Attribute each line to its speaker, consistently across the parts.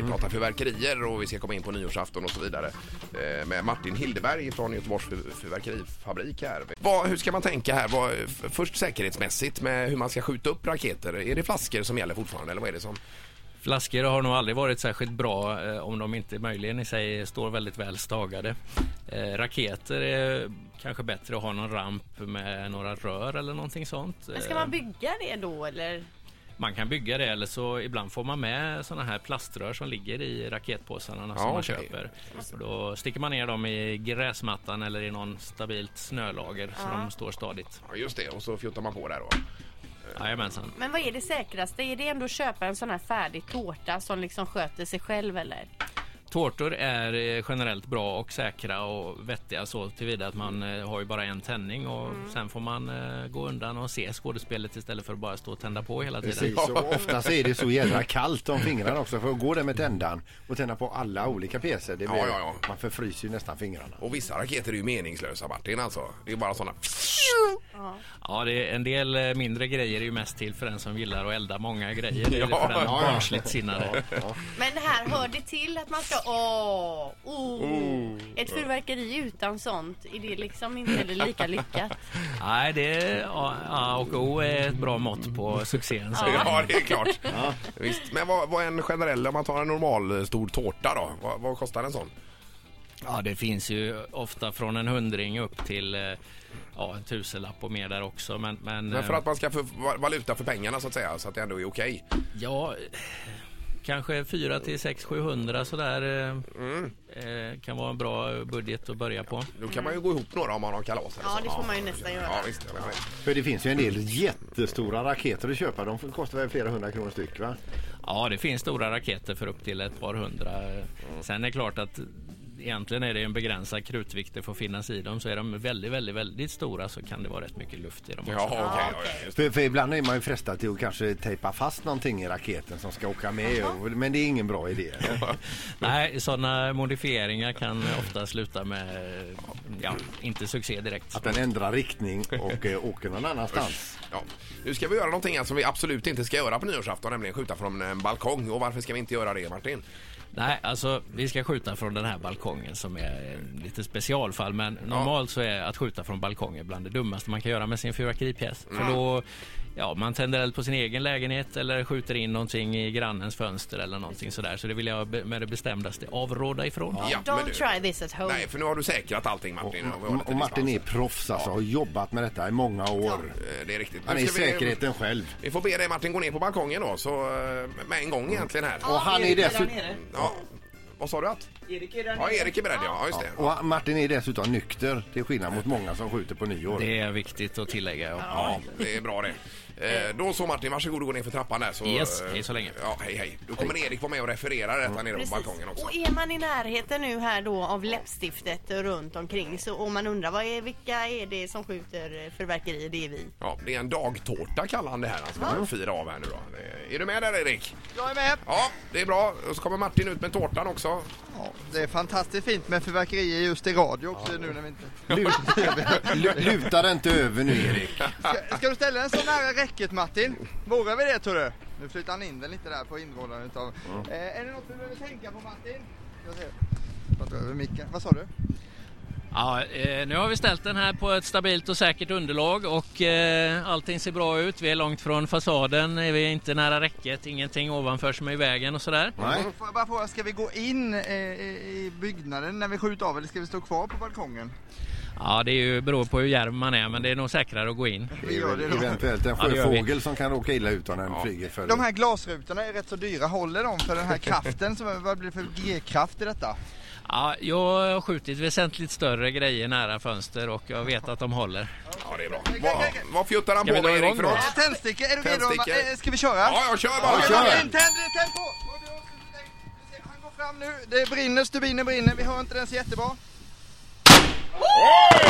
Speaker 1: Vi pratar fyrverkerier och vi ska komma in på nyårsafton och så vidare. Eh, Med Martin Hildeberg från Göteborgs fyr- fyrverkerifabrik här. Vad, hur ska man tänka här? Vad, f- först säkerhetsmässigt med hur man ska skjuta upp raketer. Är det flaskor som gäller fortfarande eller vad är det som?
Speaker 2: Flaskor har nog aldrig varit särskilt bra eh, om de inte möjligen i sig står väldigt väl stagade. Eh, raketer är kanske bättre att ha någon ramp med några rör eller någonting sånt.
Speaker 3: Men ska
Speaker 2: Eh,
Speaker 3: man bygga det då eller?
Speaker 2: man kan bygga det eller så ibland får man med sådana här plaströr som ligger i raketpåsarna som man
Speaker 1: okej.
Speaker 2: köper. Och då sticker man ner dem i gräsmattan eller i någon stabilt snölager så de står stadigt.
Speaker 1: Ja, just det. Och så fjuttar man på där då.
Speaker 2: Jajamensan.
Speaker 3: Men vad är det säkraste? Är det ändå att köpa en sån här färdig tårta som liksom sköter sig själv eller?
Speaker 2: Tårtor är eh, generellt bra och säkra och vettiga så tillvida att man eh, har ju bara en tändning och
Speaker 1: Mm.
Speaker 2: sen får man eh, gå undan och se skådespelet istället för att bara stå och tända på hela tiden.
Speaker 4: Precis, och oftast är det så jädra kallt om fingrarna också för att gå där med tändan och tända på alla olika pjäser, det blir,
Speaker 1: Ja, ja, ja.
Speaker 4: man förfryser ju nästan fingrarna.
Speaker 1: Och vissa raketer är ju meningslösa Martin alltså. Det är bara sådana.
Speaker 2: Ja, det är en del eh, mindre grejer är ju mest till för den som gillar att elda många grejer. Det är
Speaker 1: Ja,
Speaker 2: för den
Speaker 1: ja,
Speaker 4: ja.
Speaker 2: barnsligt sinnade.
Speaker 3: Men det här hör det till att man ska åh, oh, Ett fyrverkeri utan sånt, är det liksom inte heller lika lyckat?
Speaker 2: Nej, det är ja, A och O är ett bra mått på succén. Så.
Speaker 1: Ja, det är klart. Visst. Men vad, vad är en generell, om man tar en normal eh, stor tårta då? Vad, vad kostar en sån?
Speaker 2: Ja, det finns ju ofta från en hundring upp till eh, ja, en tusenlapp och mer där också. Men, men,
Speaker 1: Men för
Speaker 2: eh,
Speaker 1: att man ska få va- valuta för pengarna så att säga, så att det ändå är okej.
Speaker 2: Ja, kanske 4 till 6 700 sådär. eh, Eh, kan vara en bra budget att börja på.
Speaker 1: Då kan man ju gå ihop några om man har kalas. eller
Speaker 3: Ja,
Speaker 1: så.
Speaker 3: det får man ju nästan göra.
Speaker 1: Ja, visst. Jag menar det.
Speaker 4: För det finns ju en del jättestora raketer att köpa, de kostar väl flera hundra kronor styck va?
Speaker 2: Ja, det finns stora raketer för upp till ett par hundra. eh. Sen är det klart att egentligen är det en begränsad krutvikt det får finnas i dem. Så är de väldigt, väldigt, väldigt stora så kan det vara rätt mycket luft i dem.
Speaker 1: Ja,
Speaker 2: Också.
Speaker 1: okej. ja, ja, just det.
Speaker 4: För, för ibland är man ju frestad till att kanske tejpa fast någonting i raketen som ska åka med, och, men det är ingen bra idé.
Speaker 2: Nej, sådana modifieringar kan ofta sluta med, eh, ja, inte succé direkt.
Speaker 4: Att den ändrar riktning och eh, åker någon annanstans.
Speaker 1: Ja. Nu ska vi göra någonting här som vi absolut inte ska göra på nyårsafton, nämligen skjuta från en balkong. Och varför ska vi inte göra det, Martin?
Speaker 2: Nej, alltså vi ska skjuta från den här balkongen som är eh, lite specialfall. Men normalt så är att skjuta från balkongen bland det dummaste man kan göra med sin fyrverkeripjäs. För då, ja, man tänder eld på sin egen lägenhet eller skjuter in någonting i grannens fönster eller någonting sådär. Så det vill jag be- med det bestämdaste avråda ifrån.
Speaker 1: Ja, men
Speaker 3: Don't
Speaker 1: du-
Speaker 3: try this at home.
Speaker 1: Nej, för nu har du säkrat allting, Martin. vi har
Speaker 4: Och,
Speaker 1: lite
Speaker 4: och Martin är
Speaker 1: dispens.
Speaker 4: proffs alltså, har jobbat med detta i många år.
Speaker 1: Eh, Det är riktigt.
Speaker 4: Han
Speaker 1: Nu
Speaker 4: är
Speaker 1: ska vi-
Speaker 4: säkerheten själv.
Speaker 1: Vi får be dig, Martin, gå ner på balkongen då, så eh, med en gång egentligen här.
Speaker 4: Och han är dessutom...
Speaker 1: Ja. Vad sa du att? Erik är Ja, Erik är beredd, ja. ja. Just det.
Speaker 4: Och Martin är dessutom nykter, till skillnad mot många som skjuter på nyår.
Speaker 2: Det är viktigt att tillägga. Ja.
Speaker 1: Ja, det är bra det. Eh, Då så Martin, varsågod och gå ner för trappan där. Så,
Speaker 2: Yes,
Speaker 1: eh,
Speaker 2: hej så länge.
Speaker 1: Ja, hej hej. Då kommer Erik vara med och referera detta nere på
Speaker 3: Precis.
Speaker 1: balkongen också.
Speaker 3: Och E- är man i närheten nu här då av läppstiftet runt omkring så om man undrar vad är, vilka är det som skjuter eh, fyrverkeri? Det är vi.
Speaker 1: Ja, det är en dagtårta kallar han det här. Han ska fira av här nu då. Eh, Är du med där Erik? Jag är med. Ja, det är bra. Och så kommer Martin ut med tårtan också.
Speaker 5: Ja, det är fantastiskt fint med fyrverkerier just i radio också nu när vi inte...
Speaker 4: Lu- Luta dig inte över nu Erik.
Speaker 5: Ska, ska du ställa den så nära räcket Martin? Vågar vi det tror du? Nu flyttar han in den lite där på inrådan utav... Eh, är det något vi behöver tänka på Martin? Ska vi se. Jag drar över micken. Vad sa du?
Speaker 2: Ja, eh, nu har vi ställt den här på ett stabilt och säkert underlag och eh, allting ser bra ut. Vi är långt från fasaden, eh, vi är inte nära räcket, ingenting ovanför som är i vägen och sådär.
Speaker 4: Nej.
Speaker 5: Får jag bara fråga, ska vi gå in eh, i i byggnaden när vi skjuter av eller ska vi stå kvar på balkongen?
Speaker 2: Ja, det är ju, beror på hur djärv man är, men det är nog säkrare att gå in.
Speaker 5: Vi gör det då.
Speaker 4: Eventuellt en
Speaker 2: Ja, det gör vi.
Speaker 4: sjöfågel som kan råka illa ut om den flyger för...
Speaker 5: De här glasrutorna är rätt så dyra. Håller de för den här kraften? Som, vad blir det för G-kraft i detta?
Speaker 2: Ja, jag har skjutit väsentligt större grejer nära fönster och jag vet att de håller.
Speaker 1: Ja, det är bra.
Speaker 5: Okej,
Speaker 1: Vad,
Speaker 5: okej, okej.
Speaker 1: vad fjuttar han
Speaker 2: Ska
Speaker 1: på
Speaker 2: vi
Speaker 1: med
Speaker 2: dra
Speaker 1: Erik
Speaker 2: igång
Speaker 1: för
Speaker 2: då?
Speaker 1: något?
Speaker 5: Tändstickor, är du redo?
Speaker 1: Tändstickor.
Speaker 5: Eh, Ska vi köra?
Speaker 1: Ja, jag kör bara.
Speaker 5: Okej,
Speaker 4: kör.
Speaker 5: Martin, tänd, tänd på! Och du också, stäng. Vi ser, Han går fram nu. Det brinner, stubinen brinner. Vi hör inte den så jättebra.
Speaker 1: Oj!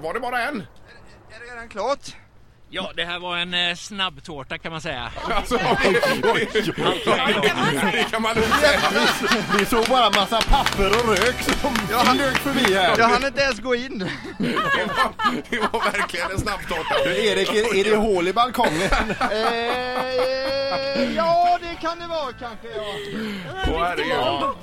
Speaker 1: Var det bara en?
Speaker 5: Är det redan klart?
Speaker 2: Ja, det här var en eh, snabbtårta kan man säga.
Speaker 1: Alltså, det,
Speaker 3: kan man säga.
Speaker 1: det kan man lugnt säga.
Speaker 4: Vi såg bara en massa papper och rök som
Speaker 5: Ja, han-
Speaker 4: flög förbi här.
Speaker 5: Jag hann inte ens gå in.
Speaker 1: Det var, det var verkligen en snabbtårta.
Speaker 4: Du, Erik, är, är det hål i balkongen?
Speaker 5: Eh, eh, ja, det kan det vara kanske. Ja.
Speaker 1: Åh, herregud.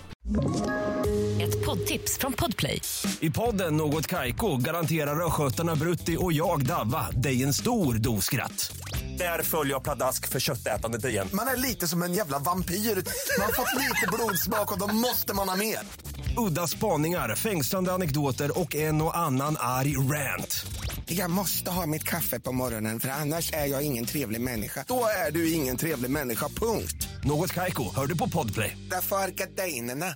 Speaker 6: Ett poddtips från Podplay.
Speaker 7: I podden Något Kaiko garanterar östgötarna Brutti och jag, Davva, dig en stor dos skratt. Där följer jag pladask för köttätandet igen.
Speaker 8: Man är lite som en jävla vampyr. Man har fått lite blodsmak och då måste man ha mer.
Speaker 7: Udda spaningar, fängslande anekdoter och en och annan arg rant.
Speaker 8: Jag måste ha mitt kaffe på morgonen för annars är jag ingen trevlig människa. Då är du ingen trevlig människa, punkt.
Speaker 7: Något Kaiko, hör du på Podplay.
Speaker 8: Därför arkadeinerna.